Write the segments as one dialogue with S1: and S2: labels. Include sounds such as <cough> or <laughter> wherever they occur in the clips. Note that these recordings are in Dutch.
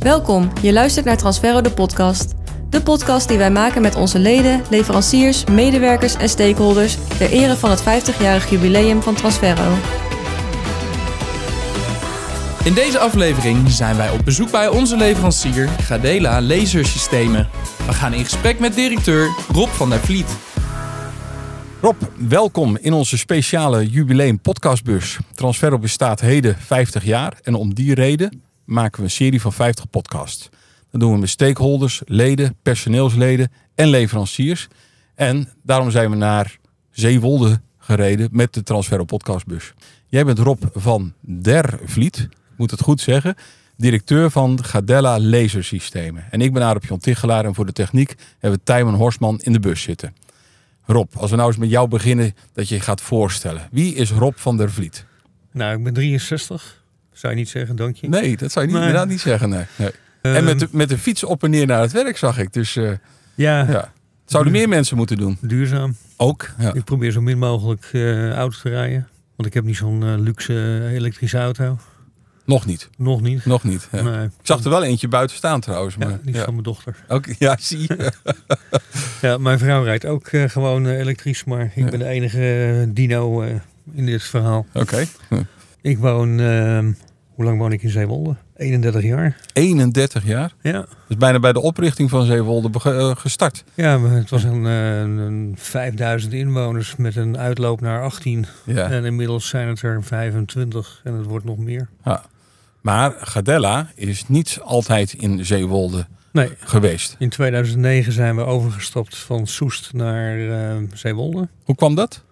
S1: Welkom, je luistert naar Transferro de podcast. De podcast die wij maken met onze leden, leveranciers, medewerkers en stakeholders ter ere van het 50-jarig jubileum van Transferro.
S2: In deze aflevering zijn wij op bezoek bij onze leverancier Gadela Lasersystemen. We gaan in gesprek met directeur Rob van der Vliet.
S3: Rob, welkom in onze speciale jubileum podcastbus. Transferop bestaat heden 50 jaar en om die reden maken we een serie van 50 podcasts. Dat doen we met stakeholders, leden, personeelsleden en leveranciers. En daarom zijn we naar Zeewolde gereden met de Transferop podcastbus. Jij bent Rob van der Vliet, ik moet het goed zeggen, directeur van Gadella Lasersystemen. En ik ben Arup Jon Tichelaar en voor de techniek hebben we Tijmen Horsman in de bus zitten. Rob, als we nou eens met jou beginnen, dat je je gaat voorstellen. Wie is Rob van der Vliet?
S4: Nou, ik ben 63. Zou je niet zeggen, dank je.
S3: Nee, dat zou je niet,
S4: Nee.
S3: inderdaad niet zeggen. Nee. nee. en
S4: Ehm,
S3: met de, met de fiets op en neer naar het werk zag ik. Dus
S4: <laughs>
S3: eh,
S4: ja,
S3: ja, het zouden meer mensen moeten doen.
S4: duurzaam.
S3: Ook. Ja.
S4: Ik probeer zo min mogelijk eh auto te rijden. Want ik heb niet zo'n eh, luxe elektrische auto.
S3: Nog niet.
S4: Nog niet.
S3: Nog niet. Ja.
S4: Nee.
S3: Ik zag er wel eentje buiten staan trouwens.
S4: ja,
S3: Maar,
S4: die is
S3: ja.
S4: van mijn dochter.
S3: Ook, ja, zie je.
S4: Ja, mijn vrouw rijdt ook eh, gewoon eh, elektrisch, maar ik
S3: Ja.
S4: ben de enige eh, dino eh, in dit verhaal.
S3: Oké. Hm.
S4: Ik woon, ehm, hoe lang woon ik in Zeewolde? 31 jaar.
S3: 31 jaar.
S4: Ja,
S3: Dat is bijna bij de oprichting van Zeewolde bege- eh, gestart.
S4: ja maar het was een, eh, een 5000 inwoners met een uitloop naar 18.
S3: Ja.
S4: En inmiddels zijn het er 25 en het wordt nog meer.
S3: Ja. Maar Gadella is niet altijd in Zeewolde
S4: Nee,
S3: geweest.
S4: in 2009 zijn we overgestapt van Soest naar eh, Zeewolde.
S3: Hoe kwam dat?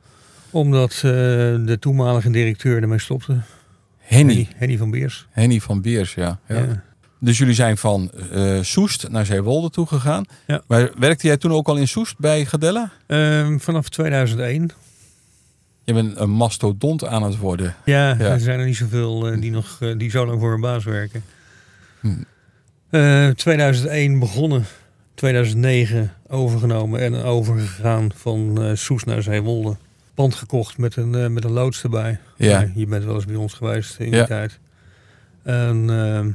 S4: Omdat eh, de toenmalige directeur ermee stopte.
S3: Henny.
S4: Henny van Beers.
S3: Henny van Beers, ja. ja.
S4: Ja.
S3: Dus jullie zijn van eh, Soest naar Zeewolde toe gegaan.
S4: Ja.
S3: Maar werkte jij toen ook al in Soest bij Gadella?
S4: Ehm, vanaf 2001.
S3: Je bent een mastodont aan het worden.
S4: Ja,
S3: Ja.
S4: er zijn er niet zoveel eh, die, nog, eh, die zo lang voor een baas werken.
S3: Hm.
S4: Eh, 2001 begonnen. 2009 overgenomen en overgegaan van eh Soes naar Zeewolde. Pand gekocht met een, eh, met een loods erbij.
S3: Ja.
S4: Maar Je bent wel eens bij ons geweest in
S3: Ja.
S4: die tijd. En ehm,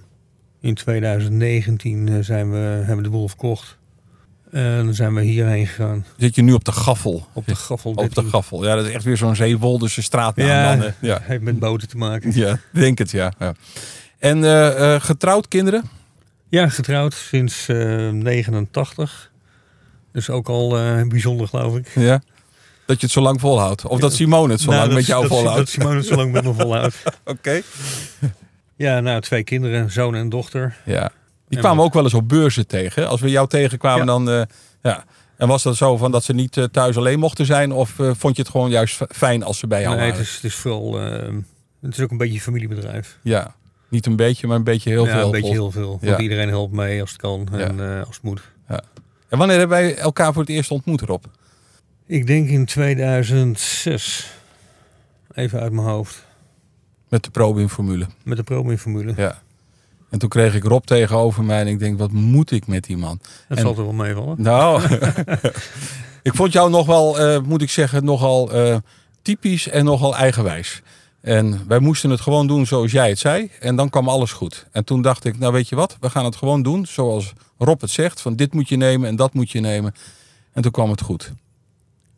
S4: in 2019 zijn we, hebben we de boel verkocht. En zijn we hierheen gegaan.
S3: Zit je nu op de gaffel?
S4: Op de gaffel.
S3: Op de gaffel. Ja, dat is echt weer zo'n Zeewolderse straatnaam.
S4: Ja.
S3: dan, hè. ja.
S4: Heeft met boten te maken.
S3: ja, denk het, ja. ja. En eh, eh, getrouwd kinderen?
S4: Ja, getrouwd sinds eh 89. Dus ook al eh, bijzonder, geloof ik.
S3: Ja. Dat je het zo lang volhoudt. Of
S4: Ja.
S3: dat Simone het zo
S4: Nou,
S3: lang
S4: dat-
S3: met jou
S4: dat- Dat
S3: volhoudt.
S4: Simone het zo lang met me
S3: <laughs>
S4: volhoudt.
S3: Oké.
S4: Ja, nou, twee kinderen, zoon en dochter.
S3: Ja. Die
S4: En
S3: kwamen we
S4: wat-
S3: ook wel eens op beurzen tegen. hè? Als we jou tegenkwamen,
S4: Ja.
S3: dan. eh, ja. En was dat zo van dat ze niet eh, thuis alleen mochten zijn? Of eh, vond je het gewoon juist f- fijn als ze bij jou
S4: nee, het
S3: waren?
S4: is, het is vooral... eh, het is ook een beetje een familiebedrijf.
S3: Ja. Niet een beetje, maar een beetje heel
S4: ja,
S3: veel.
S4: een beetje
S3: volgens-
S4: heel veel. Want
S3: Ja.
S4: iedereen helpt mee als het kan en eh, als het moet.
S3: En wanneer hebben wij elkaar voor het eerst ontmoet, Rob?
S4: Ik denk in 2006. Even uit mijn hoofd.
S3: Met de Probin-formule.
S4: Met de Promin-formule.
S3: Ja. En toen kreeg ik Rob tegenover mij en ik denk, wat moet ik met die man?
S4: Dat
S3: En-
S4: zal er wel meevallen.
S3: Nou, <laughs> ik vond jou nog wel, eh, moet ik zeggen, nogal eh, typisch en nogal eigenwijs. En wij moesten het gewoon doen zoals jij het zei. En dan kwam alles goed. En toen dacht ik, nou weet je wat, we gaan het gewoon doen zoals Rob het zegt. Van dit moet je nemen en dat moet je nemen. En toen kwam het goed.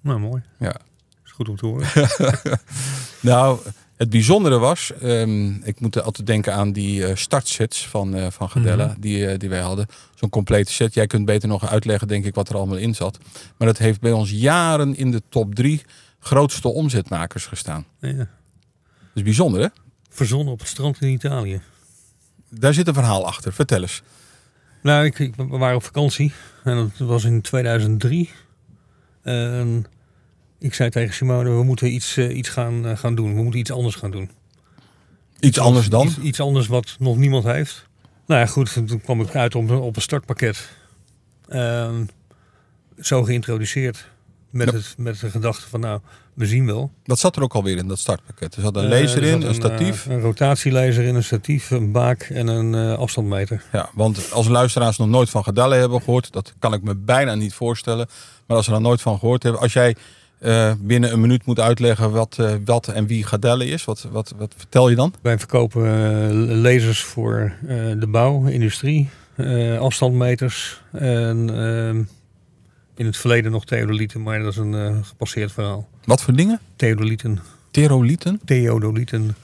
S4: Nou, mooi.
S3: Ja.
S4: Is goed om te
S3: <laughs>
S4: horen.
S3: Nou, het bijzondere was, ehm, ik moet altijd denken aan die eh, startsets van, eh van Gadella,
S4: Mhm.
S3: die, eh, die wij hadden. Zo'n complete set. Jij kunt beter nog uitleggen, denk ik, wat er allemaal in zat. Maar dat heeft bij ons jaren in de top drie grootste omzetmakers gestaan.
S4: Ja.
S3: Dat is bijzonder, hè?
S4: Verzonnen op het strand in Italië.
S3: Daar zit een verhaal achter. Vertel eens.
S4: Nou, ik, ik, we waren op vakantie. En dat was in 2003. En ik zei tegen Simone, we moeten iets, eh, iets gaan, eh, gaan doen. We moeten iets anders gaan doen.
S3: Iets anders dan?
S4: Iets, iets anders wat nog niemand heeft. Nou ja, goed, toen kwam ik uit op, een- op een startpakket. Ehm, zo geïntroduceerd. Met,
S3: Ja.
S4: het, met de gedachte van, nou, we zien wel.
S3: Dat zat er ook alweer in, dat startpakket. Er zat een
S4: Eh,
S3: laser
S4: er
S3: in,
S4: zat
S3: een statief.
S4: eh, een rotatielaser in, een statief, een baak en een eh, afstandmeter.
S3: Ja, want als luisteraars nog nooit van Gadelle hebben gehoord, dat kan ik me bijna niet voorstellen. Maar als ze er nog nooit van gehoord hebben, als jij eh, eh, binnen een minuut moet uitleggen wat, eh, wat en wie Gadelle is? Wat, wat, wat vertel je dan?
S4: Wij verkopen eh, lasers voor eh, de bouw, industrie, eh, afstandmeters. En, ehm, in het verleden nog theodolieten, maar dat is een eh, gepasseerd verhaal.
S3: Wat voor dingen?
S4: Theodolieten,
S3: Terolieten?
S4: theodolieten.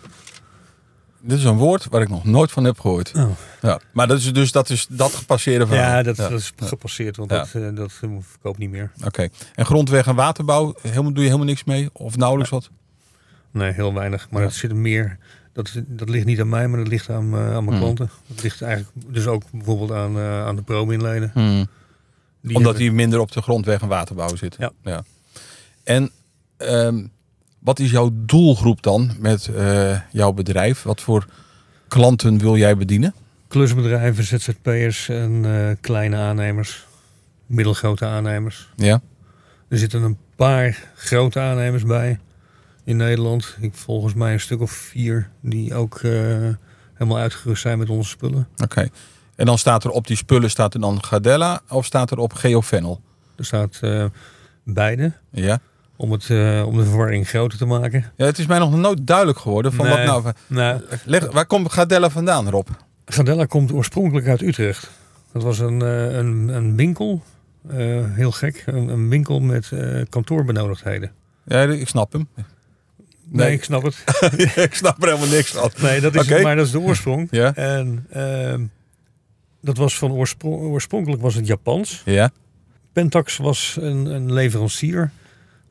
S3: Dit is een woord waar ik nog nooit van heb gehoord.
S4: Oh.
S3: Ja. Maar dat is dus dat, is dat gepasseerde verhaal.
S4: Ja, dat,
S3: Ja.
S4: dat is gepasseerd, want
S3: Ja.
S4: dat, eh, dat eh, verkoopt niet meer.
S3: Oké. En grondweg en waterbouw, helemaal, doe je helemaal niks mee? Of nauwelijks wat?
S4: Nee, heel weinig. Maar dat zit er meer. Dat, dat ligt niet aan mij, maar dat ligt aan, eh, aan mijn
S3: Hmm.
S4: klanten. Dat ligt eigenlijk dus ook bijvoorbeeld aan, eh, aan de pro-inleden. Die
S3: Omdat
S4: hebben-
S3: die minder op de grondweg en waterbouw zitten.
S4: Ja.
S3: En ehm, wat is jouw doelgroep dan met eh, jouw bedrijf? Wat voor klanten wil jij bedienen?
S4: klusbedrijven, ZZP'ers en eh, kleine aannemers, middelgrote aannemers.
S3: Ja.
S4: Er zitten een paar grote aannemers bij in Nederland. Ik volgens mij een stuk of vier die ook eh, helemaal uitgerust zijn met onze spullen.
S3: Oké. En dan staat er op die spullen staat er dan Gadella of staat er op Geofennel?
S4: Er staat eh, beide
S3: Ja.
S4: om, het, eh, om de verwarring groter te maken.
S3: ja. Het is mij nog nooit duidelijk geworden van
S4: Nee.
S3: wat nou.
S4: Nou,
S3: Leg, waar komt Gadella vandaan, Rob?
S4: Gadella komt oorspronkelijk uit Utrecht. Dat was een, eh, een, een winkel, eh, heel gek, een, een winkel met eh, kantoorbenodigdheden.
S3: Ja, ik snap
S4: <laughs>
S3: hem.
S4: Nee,
S3: Nee.
S4: ik snap het.
S3: ik snap er helemaal niks van.
S4: Nee, dat is,
S3: Oké.
S4: maar dat is de oorsprong.
S3: Ja.
S4: En ehm, dat was van oorspro- oorspronkelijk was het Japans.
S3: Ja.
S4: Pentax was een, een leverancier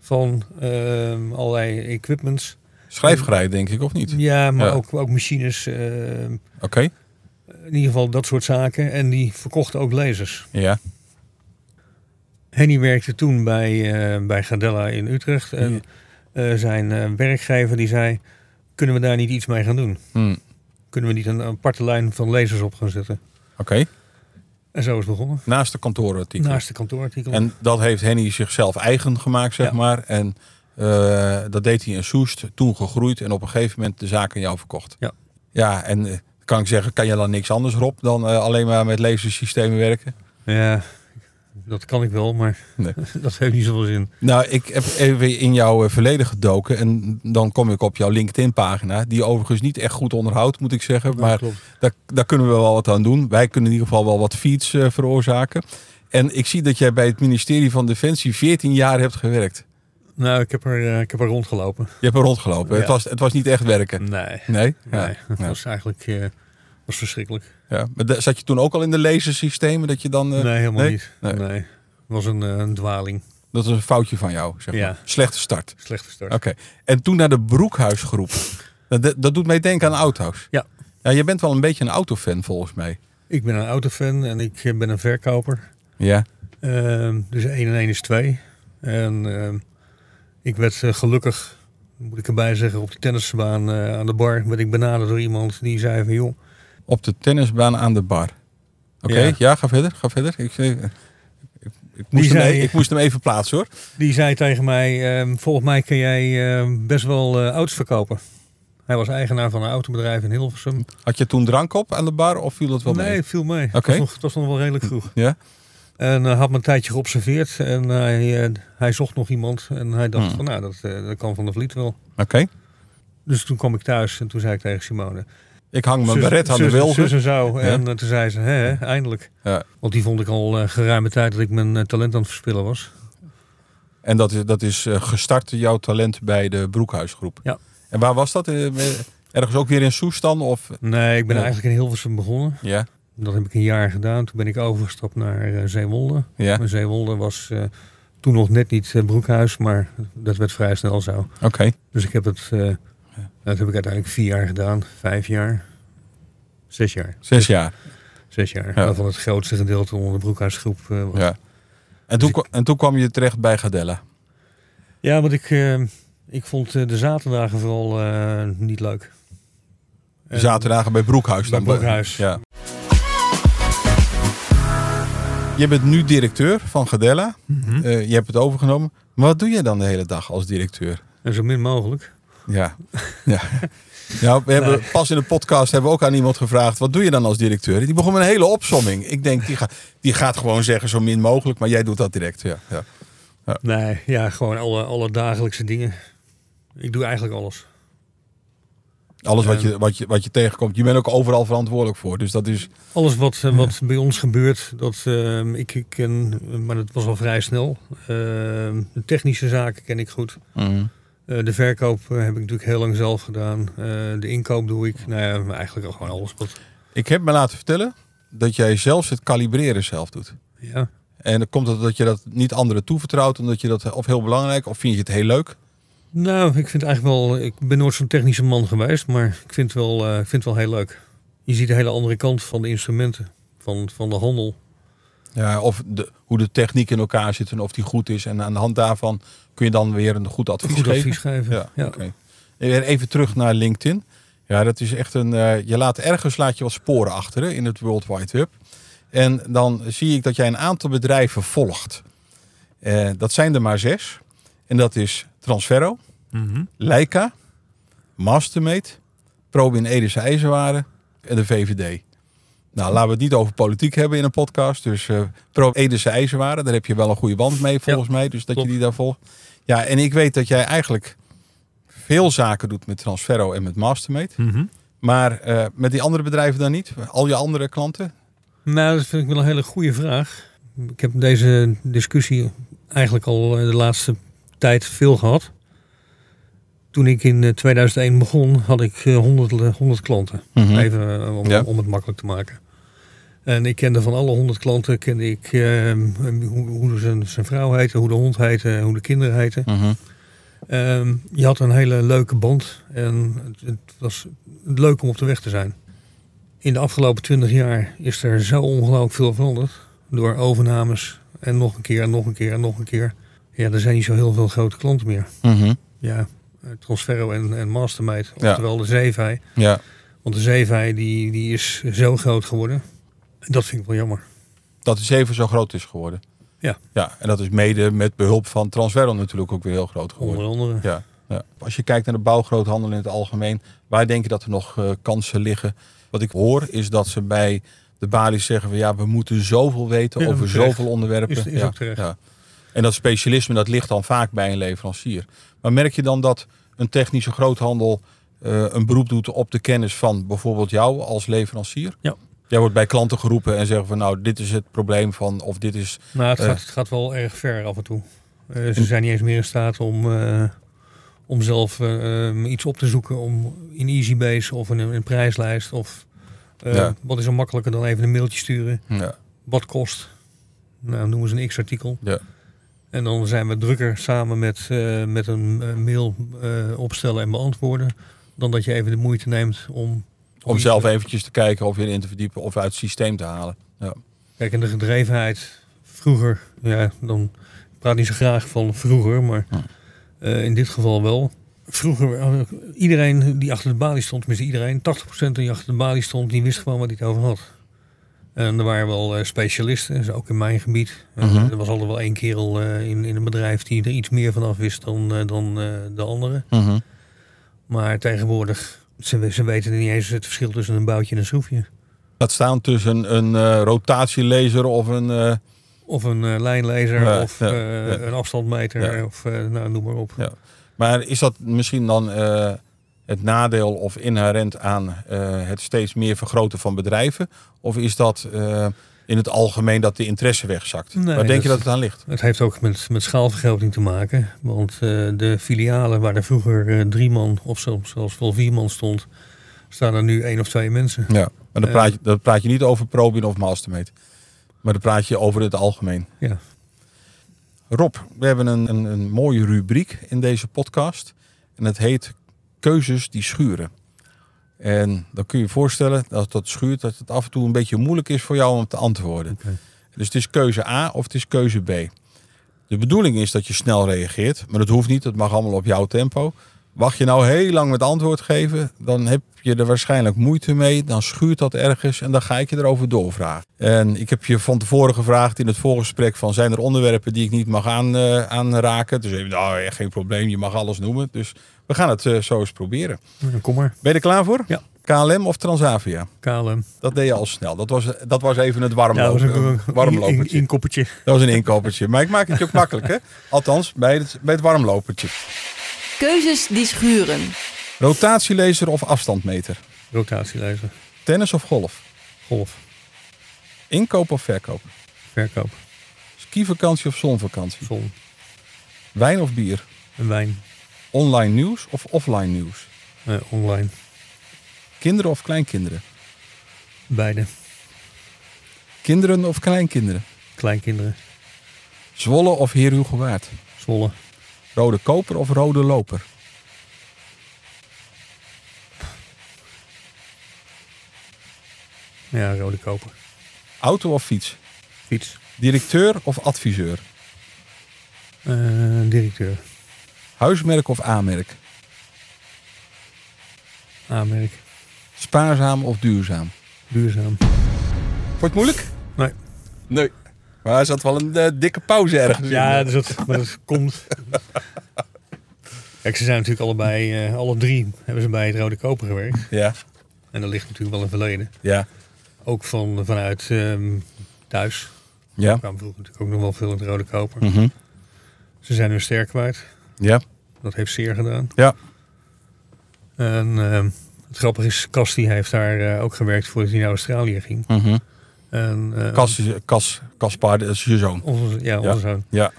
S4: van ehm, allerlei equipments.
S3: Schrijfgerij, denk ik, of niet?
S4: Ja, maar
S3: Ja.
S4: Ook, ook machines. ehm,
S3: Oké.
S4: in ieder geval dat soort zaken. En die verkochten ook lasers.
S3: Ja.
S4: Henny werkte toen bij, eh, bij Gadella in Utrecht. En
S3: Ja.
S4: eh, zijn eh, werkgever die zei, kunnen we daar niet iets mee gaan doen?
S3: Hm.
S4: Kunnen we niet een aparte lijn van lasers op gaan zetten?
S3: Oké.
S4: En zo is het begonnen.
S3: Naast de kantoorartikel.
S4: Naast de kantoorartikelen.
S3: En dat heeft Henny zichzelf eigen gemaakt, zeg
S4: Ja.
S3: maar. En eh, dat deed hij in Soest, toen gegroeid en op een gegeven moment de zaak aan jou verkocht.
S4: Ja.
S3: Ja, en eh, kan ik zeggen, kan je dan niks anders, Rob, dan eh, alleen maar met lasersystemen werken?
S4: Ja, dat kan ik wel, maar
S3: Nee.
S4: <laughs> dat heeft niet zoveel zin.
S3: Nou, ik heb even in jouw eh, verleden gedoken en dan kom ik op jouw LinkedIn-pagina, die je overigens niet echt goed onderhoudt, moet ik zeggen. Maar
S4: klopt.
S3: daar, daar kunnen we wel wat aan doen. Wij kunnen in ieder geval wel wat feeds eh, veroorzaken. En ik zie dat jij bij het ministerie van Defensie 14 jaar hebt gewerkt.
S4: Nou, ik heb er, eh, ik heb er rondgelopen.
S3: Je hebt er rondgelopen.
S4: Ja.
S3: Het, was, het was niet echt werken.
S4: Nee,
S3: Nee? Ja.
S4: nee dat
S3: ja.
S4: was eigenlijk eh, was verschrikkelijk.
S3: Ja. Maar da- zat je toen ook al in de lasersystemen? Dat je dan. eh,
S4: nee, helemaal
S3: nee?
S4: niet.
S3: Nee.
S4: Nee. was een, eh, een dwaling.
S3: Dat is een foutje van jou. Zeg maar.
S4: Ja.
S3: Slechte start.
S4: Slechte start.
S3: Oké. En toen naar de Broekhuisgroep. dat, dat- dat doet mij denken aan Auto's.
S4: Ja.
S3: ja. Je bent wel een beetje een autofan volgens mij.
S4: Ik ben een autofan en ik eh, ben een verkoper.
S3: Ja.
S4: Ehm, dus 1 en 1 is 2. En ehm, ik werd eh, gelukkig, moet ik erbij zeggen, op de tennisbaan eh, aan de bar werd ik benaderd door iemand die zei van joh,
S3: Op de tennisbaan aan de bar. Oké. Ja.
S4: Ja.
S3: ga verder. Ga verder. Ik, eh, ik, ik, moest, hem,
S4: zei-
S3: e- ik moest hem even plaatsen hoor.
S4: Die zei tegen mij, ehm, volgens mij kun jij ehm, best wel eh, auto's verkopen. Hij was eigenaar van een autobedrijf in Hilversum.
S3: Had je toen drank op aan de bar of viel dat wel
S4: nee,
S3: mee?
S4: viel mee. Het,
S3: Oké.
S4: was nog, het was nog wel redelijk vroeg.
S3: Ja.
S4: En eh, had me een tijdje geobserveerd. En hij, eh, hij zocht nog iemand. En hij dacht
S3: Hmm.
S4: van, nou, dat, eh, dat kan Van de Vliet wel.
S3: Oké.
S4: Dus toen kwam ik thuis en toen zei ik tegen Simone...
S3: Ik hang mijn
S4: zus-
S3: beret aan de dus-
S4: zus-
S3: wilgen.
S4: zus en zo.
S3: Ja.
S4: En eh, toen zei ze, hè, hè, eindelijk.
S3: Ja.
S4: Want die vond ik al eh, geruime tijd dat ik mijn eh, talent aan het verspillen was.
S3: En dat is, dat is eh, gestart jouw talent bij de Broekhuisgroep.
S4: Ja.
S3: En waar was dat? Eh, eh, Ergens ook weer in Soest dan? Of,
S4: Nee, ik ben
S3: Ja.
S4: eigenlijk in Hilversum begonnen.
S3: ja,
S4: Dat heb ik een jaar gedaan. Toen ben ik overgestapt naar eh, Zeewolde.
S3: ja.
S4: Maar Zeewolde was eh, toen nog net niet eh, Broekhuis, maar dat werd vrij snel zo.
S3: oké.
S4: Dus ik heb het, eh, dat heb ik uiteindelijk vier jaar gedaan. Vijf jaar. Zes jaar.
S3: Zes jaar.
S4: Zes jaar.
S3: Ja.
S4: Waarvan het grootste gedeelte onder de Broekhuisgroep eh, was.
S3: Ja. En,
S4: Dus
S3: toen, kwa- en toen kwam je terecht bij Gadella.
S4: Ja, want ik, eh, ik vond eh, de zaterdagen vooral eh, niet leuk. En-
S3: Zaterdagen bij Broekhuis.
S4: Eh, Bij
S3: dan.
S4: Broekhuis.
S3: Ja. Je bent nu directeur van Gadella.
S4: Mhm.
S3: Eh, je hebt het overgenomen. Maar wat doe je dan de hele dag als directeur?
S4: En zo min mogelijk.
S3: Ja. ja. Nou, we hebben pas in de podcast hebben we ook aan iemand gevraagd: wat doe je dan als directeur? Die begon met een hele opsomming. Ik denk, die, ga, die gaat gewoon zeggen zo min mogelijk, maar jij doet dat direct. Ja, ja.
S4: Nee, ja, gewoon alle, alle dagelijkse dingen. Ik doe eigenlijk alles.
S3: Alles wat,
S4: Ja.
S3: je, wat, je, wat je tegenkomt. Je bent ook overal verantwoordelijk voor. Dus dat is...
S4: Alles wat, eh, wat bij ons gebeurt, dat ehm, ik, ik ken, maar dat was al vrij snel. Ehm, de technische zaken ken ik goed. Eh, de verkoop eh, heb ik natuurlijk heel lang zelf gedaan. Eh, de inkoop doe ik. Nou ja, eigenlijk al gewoon alles wat.
S3: Ik heb me laten vertellen dat jij zelfs het kalibreren zelf doet.
S4: Ja.
S3: En dan komt het dat je dat niet anderen toevertrouwt. Omdat je dat of heel belangrijk of vind je het heel leuk.
S4: Nou, ik vind eigenlijk wel. Ik ben nooit zo'n technische man geweest, maar ik vind het wel, eh, ik vind het wel heel leuk. Je ziet de hele andere kant van de instrumenten, van, van de handel.
S3: Ja, of de, hoe de techniek in elkaar zit en of die goed is. En aan de hand daarvan kun je dan weer een goed advies
S4: Goed
S3: geven.
S4: advies geven.
S3: Ja, oké. Weer Even terug naar LinkedIn. Ja, dat is echt een. eh, je laat ergens laat je wat sporen achter hè, in het World Wide Web. En dan zie ik dat jij een aantal bedrijven volgt. Eh, dat zijn er maar zes. En dat is Transferro,
S2: Mhm.
S3: Leica, Mastermate, Probin Edische IJzerwaren en de VVD. Nou, laten we het niet over politiek hebben in een podcast. Dus eh pro Edische IJzerwaren, daar heb je wel een goede band mee volgens mij. Dus dat
S4: klopt.
S3: je die daar volgt. Ja, en ik weet dat jij eigenlijk veel zaken doet met Transferro en met Mastermate.
S2: Mhm.
S3: Maar eh, met die andere bedrijven dan niet? Al je andere klanten?
S4: Nou, dat vind ik wel een hele goede vraag. Ik heb deze discussie eigenlijk al eh, de laatste tijd veel gehad. Toen ik in eh, 2001 begon, had ik eh, 100, le- 100 klanten. Even eh, om,
S3: Hm? Ja.
S4: om het makkelijk te maken. En ik kende van alle 100 klanten, kende ik eh, hoe, hoe zijn, zijn vrouw heette, hoe de hond heette, hoe de kinderen heten.
S3: Mhm.
S4: Ehm, je had een hele leuke band en het, het was leuk om op de weg te zijn. In de afgelopen twintig jaar is er zo ongelooflijk veel veranderd. Door overnames en nog een keer en nog een keer en nog een keer. Ja, er zijn niet zo heel veel grote klanten meer.
S3: Mhm.
S4: Ja, eh, Transferro en, en Mastermate,
S3: Ja.
S4: oftewel de Zeevij.
S3: Ja,
S4: Want de Zeevij die, die is zo groot geworden. En dat vind ik wel jammer.
S3: dat is even zo groot is geworden.
S4: Ja.
S3: ja en dat is mede met behulp van Transferro natuurlijk ook weer heel groot geworden.
S4: Onder andere.
S3: Ja, ja. Als je kijkt naar de bouwgroothandel in het algemeen, waar denk je dat er nog eh, kansen liggen? Wat ik hoor is dat ze bij de balies zeggen van ja, we moeten zoveel weten
S4: Ja,
S3: over
S4: terecht.
S3: zoveel onderwerpen.
S4: Is- is
S3: ja,
S4: ook terecht.
S3: ja. En dat specialisme dat ligt dan vaak bij een leverancier. Maar merk je dan dat een technische groothandel eh, een beroep doet op de kennis van bijvoorbeeld jou als leverancier?
S4: Ja.
S3: Jij wordt bij klanten geroepen en zeggen van nou, dit is het probleem van of dit is
S4: Nou, het,
S3: Eh.
S4: gaat, het gaat wel erg ver af en toe. Eh, ze zijn niet eens meer in staat om, eh, om zelf eh, eh, iets op te zoeken om in Easybase of in een, een prijslijst. Of eh,
S3: Ja.
S4: wat is er makkelijker dan even een mailtje sturen?
S3: ja,
S4: Wat kost? Nou, noemen ze een x-artikel.
S3: Ja.
S4: En dan zijn we drukker samen met, eh, met een eh, mail eh, opstellen en beantwoorden. Dan dat je even de moeite neemt om.
S3: om zelf eventjes te kijken of je erin te verdiepen of uit het systeem te halen. Ja.
S4: Kijk, en de gedrevenheid vroeger, ja, dan ik praat niet zo graag van vroeger, maar
S3: Ja.
S4: eh, in dit geval wel. Vroeger, had ik- iedereen die achter de balie stond, tenminste iedereen, 80% die achter de balie stond, die wist gewoon wat hij het over had. En er waren wel eh, specialisten, dus ook in mijn gebied. Eh,
S3: Mhm.
S4: Er was altijd wel één kerel eh, in, in een bedrijf die er iets meer van af wist dan, eh, dan eh, de anderen. Maar tegenwoordig, ze, ze weten niet eens het verschil tussen een boutje en een schroefje.
S3: Dat staan tussen een eh, rotatielaser of een. eh,
S4: Of een eh, lijnlezer,
S3: Ja,
S4: of
S3: ja,
S4: eh,
S3: ja.
S4: een afstandmeter,
S3: Ja.
S4: of eh, nou, noem maar op.
S3: Ja. maar is dat misschien dan eh, het nadeel of inherent aan eh, het steeds meer vergroten van bedrijven? Of is dat eh, in het algemeen dat de interesse wegzakt?
S4: Nee,
S3: Waar denk je
S4: dat-
S3: dat het aan ligt?
S4: Het heeft ook met, met schaalvergroting te maken. Want eh, de filialen waar er vroeger eh, drie man of soms zelfs wel vier man stond, staan er nu één of twee mensen.
S3: Ja. Maar dan
S4: Eh.
S3: praat, je, dan praat je niet over Probin of Mastermate. Maar dan praat je over het algemeen.
S4: Ja.
S3: Rob, we hebben een, een, een mooie rubriek in deze podcast. En het heet Keuzes die schuren. En dan kun je je voorstellen dat dat schuurt, dat het af en toe een beetje moeilijk is voor jou om te antwoorden.
S4: Oké.
S3: Dus het is keuze A of het is keuze B. De bedoeling is dat je snel reageert, maar dat hoeft niet. Dat mag allemaal op jouw tempo. Wacht je nou heel lang met antwoord geven, dan heb je er waarschijnlijk moeite mee. Dan schuurt dat ergens en dan ga ik je erover doorvragen. En ik heb je van tevoren gevraagd in het voorgesprek van zijn er onderwerpen die ik niet mag aan, eh, aanraken. Dus even, nou, echt geen probleem, je mag alles noemen. Dus we gaan het eh, zo eens proberen.
S4: Nou, Kom maar.
S3: Ben je er klaar voor?
S4: Ja.
S3: KLM of Transavia?
S4: KLM.
S3: Dat deed je al snel. Dat was, dat was even het warmlopen.
S4: Nou, dat
S3: een
S4: was een in- in-
S3: warmlopertje.
S4: inkoppertje.
S3: dat was een inkoppertje. Maar ik maak het je ook makkelijk, hè? Althans, bij het, bij het warmlopertje.
S1: Keuzes die schuren.
S3: Rotatielezer of afstandmeter?
S4: Rotatielezer.
S3: Tennis of golf?
S4: Golf.
S3: Inkoop of verkoop?
S4: Verkoop.
S3: Skivakantie of zonvakantie?
S4: Zon.
S3: Wijn of bier?
S4: En wijn.
S3: Online nieuws of offline nieuws?
S4: Eh, online.
S3: Kinderen of kleinkinderen?
S4: Beide.
S3: Kinderen of kleinkinderen?
S4: Kleinkinderen.
S3: Zwolle of Heer Hugowaard?
S4: Zwolle.
S3: Rode koper of rode loper?
S4: Ja, rode koper.
S3: Auto of fiets?
S4: Fiets.
S3: Directeur of adviseur?
S4: Eh, directeur.
S3: Huismerk of aanmerk?
S4: Aanmerk.
S3: Spaarzaam of duurzaam?
S4: Duurzaam.
S3: Wordt moeilijk?
S4: Nee.
S3: Nee. Maar er zat wel een eh, dikke pauze ergens
S4: Ja,
S3: in. eh.
S4: dus dat, maar dat komt. Kijk, ze zijn natuurlijk allebei, eh, alle drie hebben ze bij het Rode Koper gewerkt.
S3: Ja,
S4: En dat ligt natuurlijk wel in het verleden.
S3: ja,
S4: Ook van, vanuit ehm, thuis.
S3: ja.
S4: Er kwam vroeger natuurlijk ook nog wel veel in het Rode Koper.
S3: Mhm.
S4: Ze zijn hun sterk kwijt.
S3: Ja,
S4: Dat heeft zeer gedaan.
S3: ja.
S4: En ehm, het grappige is, Cas die heeft daar eh, ook gewerkt voordat hij naar Australië ging.
S3: Mhm.
S4: En, eh,
S3: Kas, is- Kas, Kaspar, dat is je zoon.
S4: Onze, ja, onze
S3: Ja.
S4: zoon.
S3: Ja,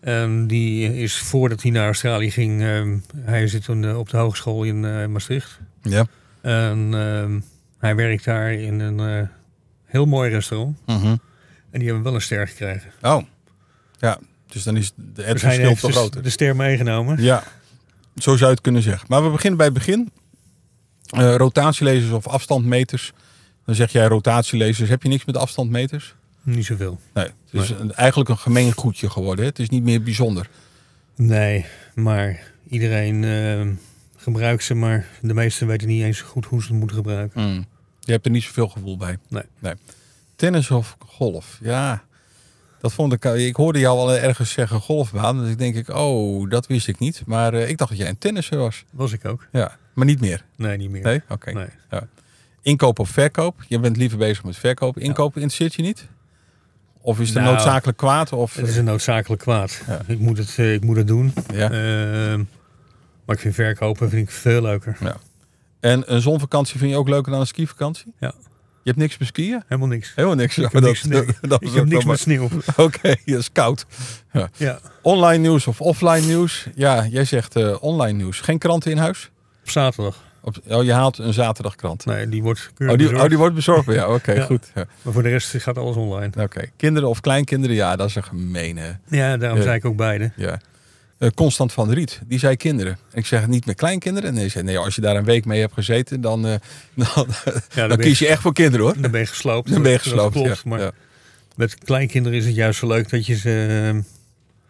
S4: En die is voordat hij naar Australië ging, ehm, hij zit toen eh, op de hogeschool in eh, Maastricht.
S3: ja.
S4: En ehm, hij werkt daar in een eh, heel mooi restaurant.
S3: Mhm.
S4: En die hebben wel een ster gekregen.
S3: Oh, ja. Dus dan is de- het
S4: Dus hij
S3: verschil
S4: heeft
S3: veel
S4: dus
S3: groter.
S4: de ster meegenomen.
S3: Ja, zo zou je het kunnen zeggen. Maar we beginnen bij het begin. Eh, rotatielezers of afstandmeters. Dan zeg jij rotatielezers. Heb je niks met afstandmeters?
S4: Niet zoveel.
S3: Nee. Het is een- eigenlijk een gemeen goedje geworden. Hè? Het is niet meer bijzonder.
S4: Nee, maar iedereen ehm, gebruikt ze, maar de meesten weten niet eens goed hoe ze het moeten gebruiken.
S3: Je hebt er niet zoveel gevoel bij.
S4: Mm. Nee.
S3: Tennis of golf? Ja. Dat vond ik, eh, ik hoorde jou al ergens zeggen golfbaan. Dus ik denk ik, oh, dat wist ik niet. Maar eh, ik dacht dat jij een tennisser was.
S4: Was ik ook?
S3: Ja, maar niet meer.
S4: Nee, niet meer.
S3: Nee? Oké.
S4: Nee.
S3: Inkoop of verkoop? Je bent liever bezig met verkoop. Inkoop interesseert je niet? Of is het een
S4: Nou,
S3: noodzakelijk kwaad? Of,
S4: Het is een noodzakelijk kwaad.
S3: Ja.
S4: Ik, moet het, eh, ik moet het doen.
S3: ja.
S4: Ehm, maar ik vind verkopen vind ik veel leuker.
S3: En een zonvakantie vind je ook leuker dan een skivakantie?
S4: Ja.
S3: Je hebt niks met skiën?
S4: Helemaal niks.
S3: Helemaal niks. Ja,
S4: Ik
S3: maar
S4: heb niks, nee.
S3: <laughs> dat
S4: ik
S3: is
S4: heb
S3: ook
S4: niks
S3: wel
S4: met sneeuw.
S3: maar- <laughs> Oké, dat is koud.
S4: Ja.
S3: Online nieuws of offline nieuws? Ja, jij zegt eh, online nieuws. Geen kranten in huis?
S4: Op zaterdag.
S3: Op- oh, je haalt een zaterdagkrant.
S4: Nee, die wordt keurig
S3: Oh die,
S4: bezorgd.
S3: oh, die wordt bezorgd bij jou. Oké,
S4: <laughs> Ja.
S3: goed. Ja,
S4: Maar voor de rest gaat alles online.
S3: Oké. Kinderen of kleinkinderen? Ja, dat is een gemene.
S4: Ja, daarom
S3: Ja.
S4: zei ik ook beide.
S3: Ja. Eh, Constant van der Riet, die zei kinderen. En ik zeg niet met kleinkinderen. Nee, hij zei, nee, als je daar een week mee hebt gezeten, dan, eh, <laughs> dan,
S4: Ja,
S3: dan
S4: ben je-
S3: kies je echt voor kinderen hoor.
S4: Dan ben je gesloopt.
S3: Dan ben je
S4: Dat
S3: gesloopt.
S4: Klopt,
S3: ja.
S4: maar
S3: Ja.
S4: met kleinkinderen is het juist zo leuk dat je ze... eh,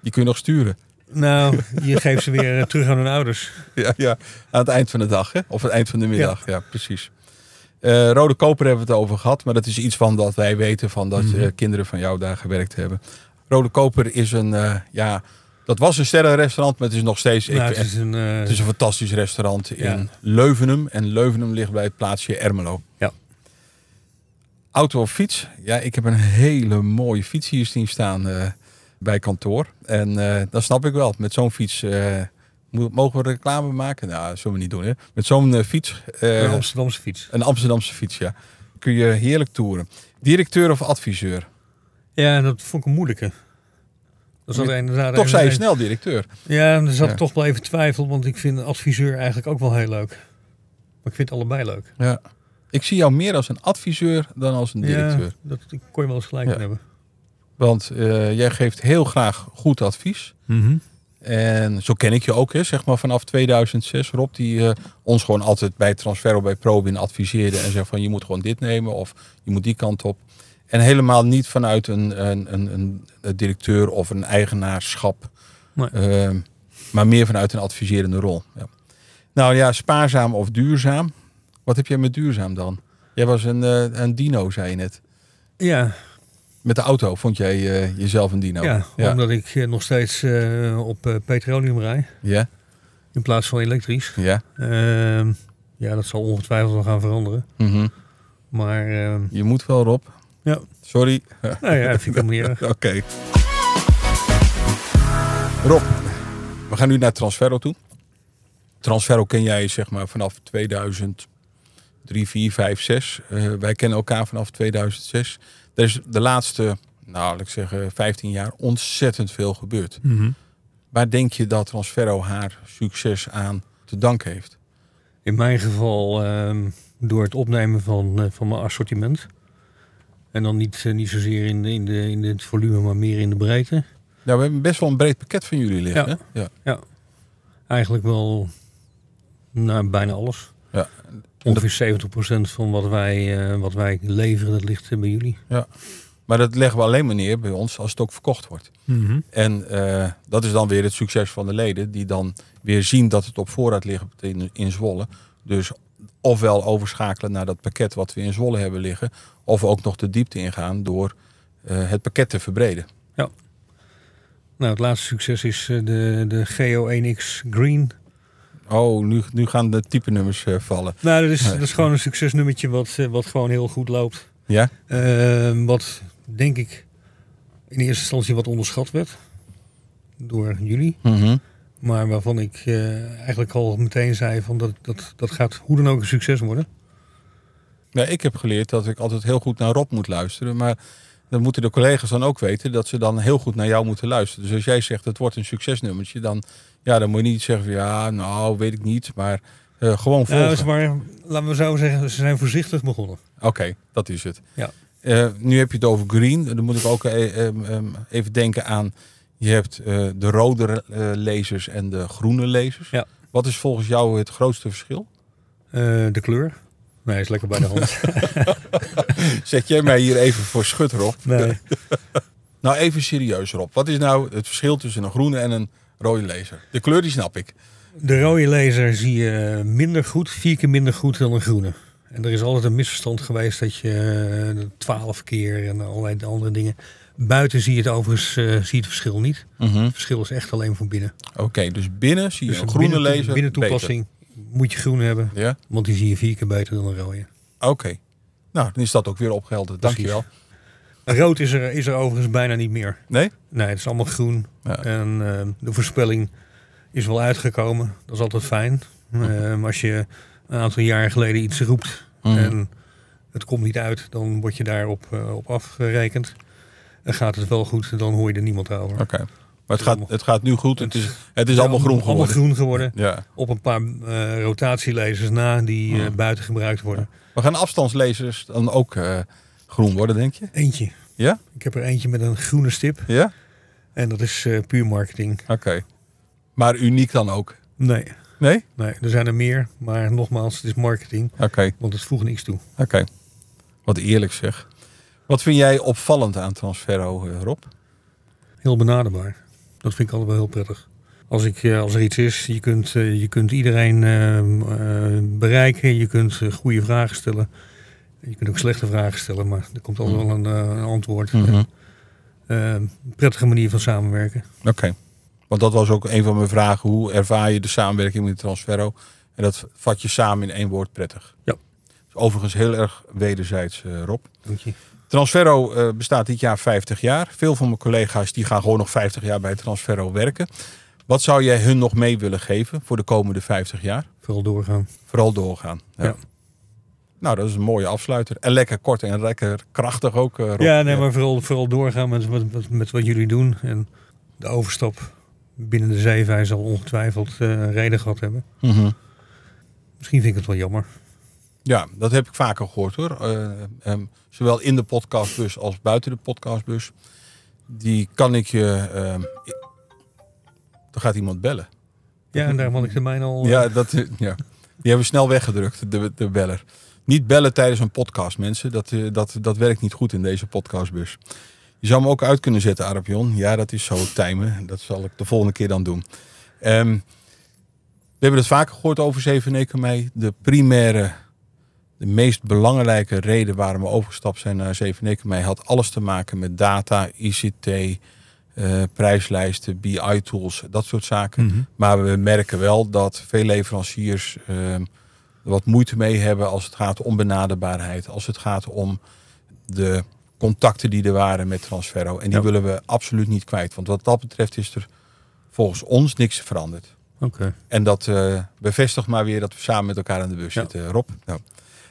S3: Die kun je nog sturen.
S4: Nou,
S3: <laughs>
S4: je geeft ze weer eh, terug aan hun ouders.
S3: Ja, ja. Aan het eind van de dag, hè? Of het eind van de middag. Ja, precies. Eh, Rode Koper hebben we het over gehad, maar dat is iets van dat wij weten van dat
S4: Mhm.
S3: eh, kinderen van jou daar gewerkt hebben. Rode Koper is een, eh, ja, dat was een sterrenrestaurant, maar het is nog steeds.
S4: nou,
S3: ik,
S4: het is een... eh,
S3: Het is een fantastisch restaurant in
S4: Ja.
S3: Leuvenum. En Leuvenum ligt bij het plaatsje Ermelo.
S4: Ja.
S3: Auto of fiets? Ja, ik heb een hele mooie fiets hier zien staan eh, bij kantoor. En eh, dat snap ik wel. Met zo'n fiets eh, mo- mogen we reclame maken? Nou, dat zullen we niet doen. Hè? Met zo'n eh, fiets, eh,
S4: een Amsterdamse fiets.
S3: een Amsterdamse fiets, ja, kun je heerlijk toeren. Directeur of adviseur?
S4: Ja, en dat vond ik een moeilijke. Dat zat er inderdaad
S3: Toch zei je
S4: even-
S3: snel directeur.
S4: Ja, er zat
S3: Ja.
S4: toch wel even twijfel, want ik vind een adviseur eigenlijk ook wel heel leuk. Maar ik vind allebei leuk.
S3: Ja. Ik zie jou meer als een adviseur dan als een directeur.
S4: Ja, dat ik kon je wel eens gelijk
S3: Ja.
S4: in hebben.
S3: Want eh, jij geeft heel graag goed advies. En zo ken ik je ook, hè, zeg maar vanaf 2006. Rob, die eh, ons gewoon altijd bij Transferro, bij Probin adviseerde. En zei van, je moet gewoon dit nemen of je moet die kant op. En helemaal niet vanuit een, een, een, een, een directeur of een eigenaarschap.
S4: Nee.
S3: Eh, maar meer vanuit een adviserende rol. Ja. Nou ja, spaarzaam of duurzaam. Wat heb jij met duurzaam dan? Jij was een, eh, een dino, zei je net.
S4: Ja,
S3: Met de auto vond jij eh, jezelf een dino.
S4: ja,
S3: ja.
S4: omdat ik eh, nog steeds eh, op eh, petroleum rij
S3: Ja?
S4: in plaats van elektrisch.
S3: Ja,
S4: Ehm, Ja, dat zal ongetwijfeld wel gaan veranderen.
S3: Mhm.
S4: Maar eh,
S3: Je moet wel, Rob.
S4: ja,
S3: Sorry. <laughs>
S4: nou ja, dat vind ik helemaal niet erg.
S3: Oké. Rob, we gaan nu naar Transferro toe. Transferro ken jij zeg maar vanaf 2003, 4, 5, 6. Eh, wij kennen elkaar vanaf 2006. Er is de laatste, nou laat ik zeggen 15 jaar, ontzettend veel gebeurd. Waar denk je dat Transferro haar succes aan te danken heeft?
S4: In mijn geval ehm, door het opnemen van, eh, van mijn assortiment. En dan niet, eh, niet zozeer in, de- in, de, in het volume, maar meer in de breedte.
S3: Nou, we hebben best wel een breed pakket van jullie liggen.
S4: Ja.
S3: Hè? Ja.
S4: Eigenlijk wel nou, bijna alles.
S3: Ja.
S4: Ongeveer 70% van wat wij, eh, wat wij leveren, dat ligt eh, bij jullie.
S3: Maar dat leggen we alleen maar neer bij ons als het ook verkocht wordt. En eh, dat is dan weer het succes van de leden, die dan weer zien dat het op voorraad ligt in, in Zwolle. Dus ofwel overschakelen naar dat pakket wat we in Zwolle hebben liggen, of ook nog de diepte ingaan door eh, het pakket te verbreden.
S4: Nou, het laatste succes is eh, de, de GO1X Green.
S3: Oh, nu, nu gaan de typenummers eh, vallen.
S4: Nou, dat is, dat is gewoon een succesnummertje wat, eh, wat gewoon heel goed loopt.
S3: Ja?
S4: Ehm, wat denk ik in eerste instantie wat onderschat werd door jullie. Maar waarvan ik eh, eigenlijk al meteen zei van dat, dat, dat gaat hoe dan ook een succes worden.
S3: Ja, ik heb geleerd dat ik altijd heel goed naar Rob moet luisteren, maar dan moeten de collega's dan ook weten dat ze dan heel goed naar jou moeten luisteren. Dus als jij zegt het wordt een succesnummertje, dan, ja, dan moet je niet zeggen van ja, nou weet ik niet, maar eh, gewoon volgen.
S4: Nou, dat is maar, laten we zo zeggen, ze zijn voorzichtig begonnen.
S3: Oké, dat is het.
S4: Ja.
S3: Eh, nu heb je het over green. Dan moet ik ook eh, em, em, even denken aan... Je hebt eh, de rode eh, lasers en de groene lasers.
S4: Ja.
S3: Wat is volgens jou het grootste verschil?
S4: Eh, de kleur? Nee, is lekker bij de <laughs> hand.
S3: Zet jij mij hier even voor schut, Rob?
S4: nee.
S3: Nou, even serieus, Rob. Wat is nou het verschil tussen een groene en een rode laser? De kleur, die snap ik.
S4: De rode laser zie je minder goed, vier keer minder goed dan een groene. En er is altijd een misverstand geweest dat je eh, twaalf keer en allerlei andere dingen. Buiten zie je het overigens eh, zie je het verschil niet. Het verschil is echt alleen voor binnen.
S3: Oké, dus binnen zie je
S4: Dus
S3: een groene
S4: binnen,
S3: laser
S4: Binnen
S3: beter.
S4: toepassing moet je groen hebben,
S3: Ja?
S4: want die zie je vier keer beter dan een rode.
S3: Oké. Nou, dan is dat ook weer opgehelderd.
S4: Precies.
S3: Dankjewel.
S4: Rood is er, is er overigens bijna niet meer.
S3: Nee?
S4: Nee, het is allemaal groen.
S3: Ja.
S4: En eh, de voorspelling is wel uitgekomen. Dat is altijd fijn. Eh, als je een aantal jaren geleden iets roept
S3: Mhm.
S4: en het komt niet uit, dan word je daarop eh, op afgerekend. En gaat het wel goed, dan hoor je er niemand over.
S3: Oké. Maar het gaat, het gaat nu goed. Het is, het is allemaal groen
S4: Allemaal
S3: geworden.
S4: groen geworden.
S3: Ja.
S4: Op een paar eh rotatielezers na die
S3: Mhm.
S4: eh, buiten gebruikt worden.
S3: We gaan afstandslezers dan ook eh, groen worden, denk je?
S4: Eentje.
S3: Ja?
S4: Ik heb er eentje met een groene stip.
S3: Ja?
S4: En dat is eh, puur marketing.
S3: Oké. Maar uniek dan ook?
S4: Nee.
S3: Nee?
S4: nee, er zijn er meer. Maar nogmaals, het is marketing.
S3: Oké.
S4: Want het voegt niks toe.
S3: Oké. Wat eerlijk zeg. Wat vind jij opvallend aan Transferro, eh, Rob?
S4: Heel benaderbaar. Dat vind ik altijd wel heel prettig. Als, ik, eh, als er iets is, je kunt, eh, je kunt iedereen eh, eh, bereiken. Je kunt eh, goede vragen stellen. Je kunt ook slechte vragen stellen. Maar er komt altijd wel een, eh, een antwoord. Eh, een prettige manier van samenwerken.
S3: Oké. Want dat was ook een van mijn vragen. Hoe ervaar je de samenwerking met Transferro? En dat vat je samen in één woord prettig.
S4: Ja.
S3: Is Overigens heel erg wederzijds, eh, Rob.
S4: Dank je.
S3: Transferro eh, bestaat dit jaar 50 jaar. Veel van mijn collega's die gaan gewoon nog 50 jaar bij Transferro werken. Wat zou jij hun nog mee willen geven voor de komende 50 jaar?
S4: Vooral doorgaan.
S3: Vooral doorgaan.
S4: Ja.
S3: Nou, dat is een mooie afsluiter. En lekker kort en lekker krachtig ook, eh, Rob.
S4: Ja, nee, maar vooral, vooral doorgaan met, met, met, met wat jullie doen. En de overstap binnen de zeevij zal ongetwijfeld eh, reden gehad hebben.
S3: Mhm.
S4: Misschien vind ik het wel jammer.
S3: Ja, dat heb ik vaker gehoord hoor. Eh, ehm, zowel in de podcastbus als buiten de podcastbus. Die kan ik je... ehm, i- er gaat iemand bellen.
S4: Ja, en daarom had ik de mijne al... eh,
S3: Ja, dat, ja, die hebben we snel weggedrukt, de, de beller. Niet bellen tijdens een podcast, mensen. Dat, eh, dat, dat werkt niet goed in deze podcastbus. Je zou hem ook uit kunnen zetten, Arapion. Ja, dat is zo, timen. Dat zal ik de volgende keer dan doen. Ehm, we hebben het vaker gehoord over 7 en mei. De primaire, de meest belangrijke reden waarom we overgestapt zijn naar 7 en mei... had alles te maken met data, ICT, eh, prijslijsten,
S4: Mhm.
S3: BI-tools, dat soort zaken. Maar we merken wel dat veel leveranciers ehm, wat moeite mee hebben als het gaat om benaderbaarheid, als het gaat om de contacten die er waren met Transferro. En die
S4: Ja.
S3: willen we absoluut niet kwijt. Want wat dat betreft is er volgens ons niks veranderd.
S4: Oké.
S3: En dat eh, bevestigt maar weer dat we samen met elkaar aan de bus
S4: Ja.
S3: zitten, Rob. Nou,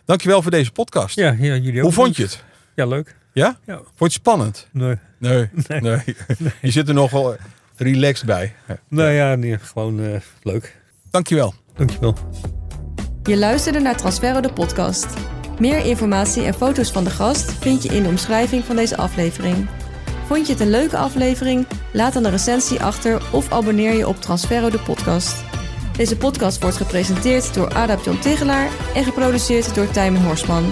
S3: dankjewel voor deze podcast.
S4: Ja, ja, jullie ook.
S3: Hoe vond je het?
S4: Ja, leuk.
S3: Ja?
S4: Ja.
S3: Vond je het spannend?
S4: Nee.
S3: Nee, nee. Je zit er nogal relaxed bij.
S4: Nou ja, nee, gewoon eh, leuk.
S3: Dankjewel.
S4: Dankjewel.
S1: Je luisterde naar Transferro de podcast. Meer informatie en foto's van de gast vind je in de omschrijving van deze aflevering. Vond je het een leuke aflevering? Laat dan een recensie achter of abonneer je op Transferro de podcast. Deze podcast wordt gepresenteerd door Adap John Tegelaar en geproduceerd door Tijmen Horsman.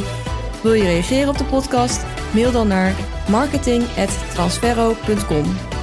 S1: Wil je reageren op de podcast? Mail dan naar marketing@transferro.com.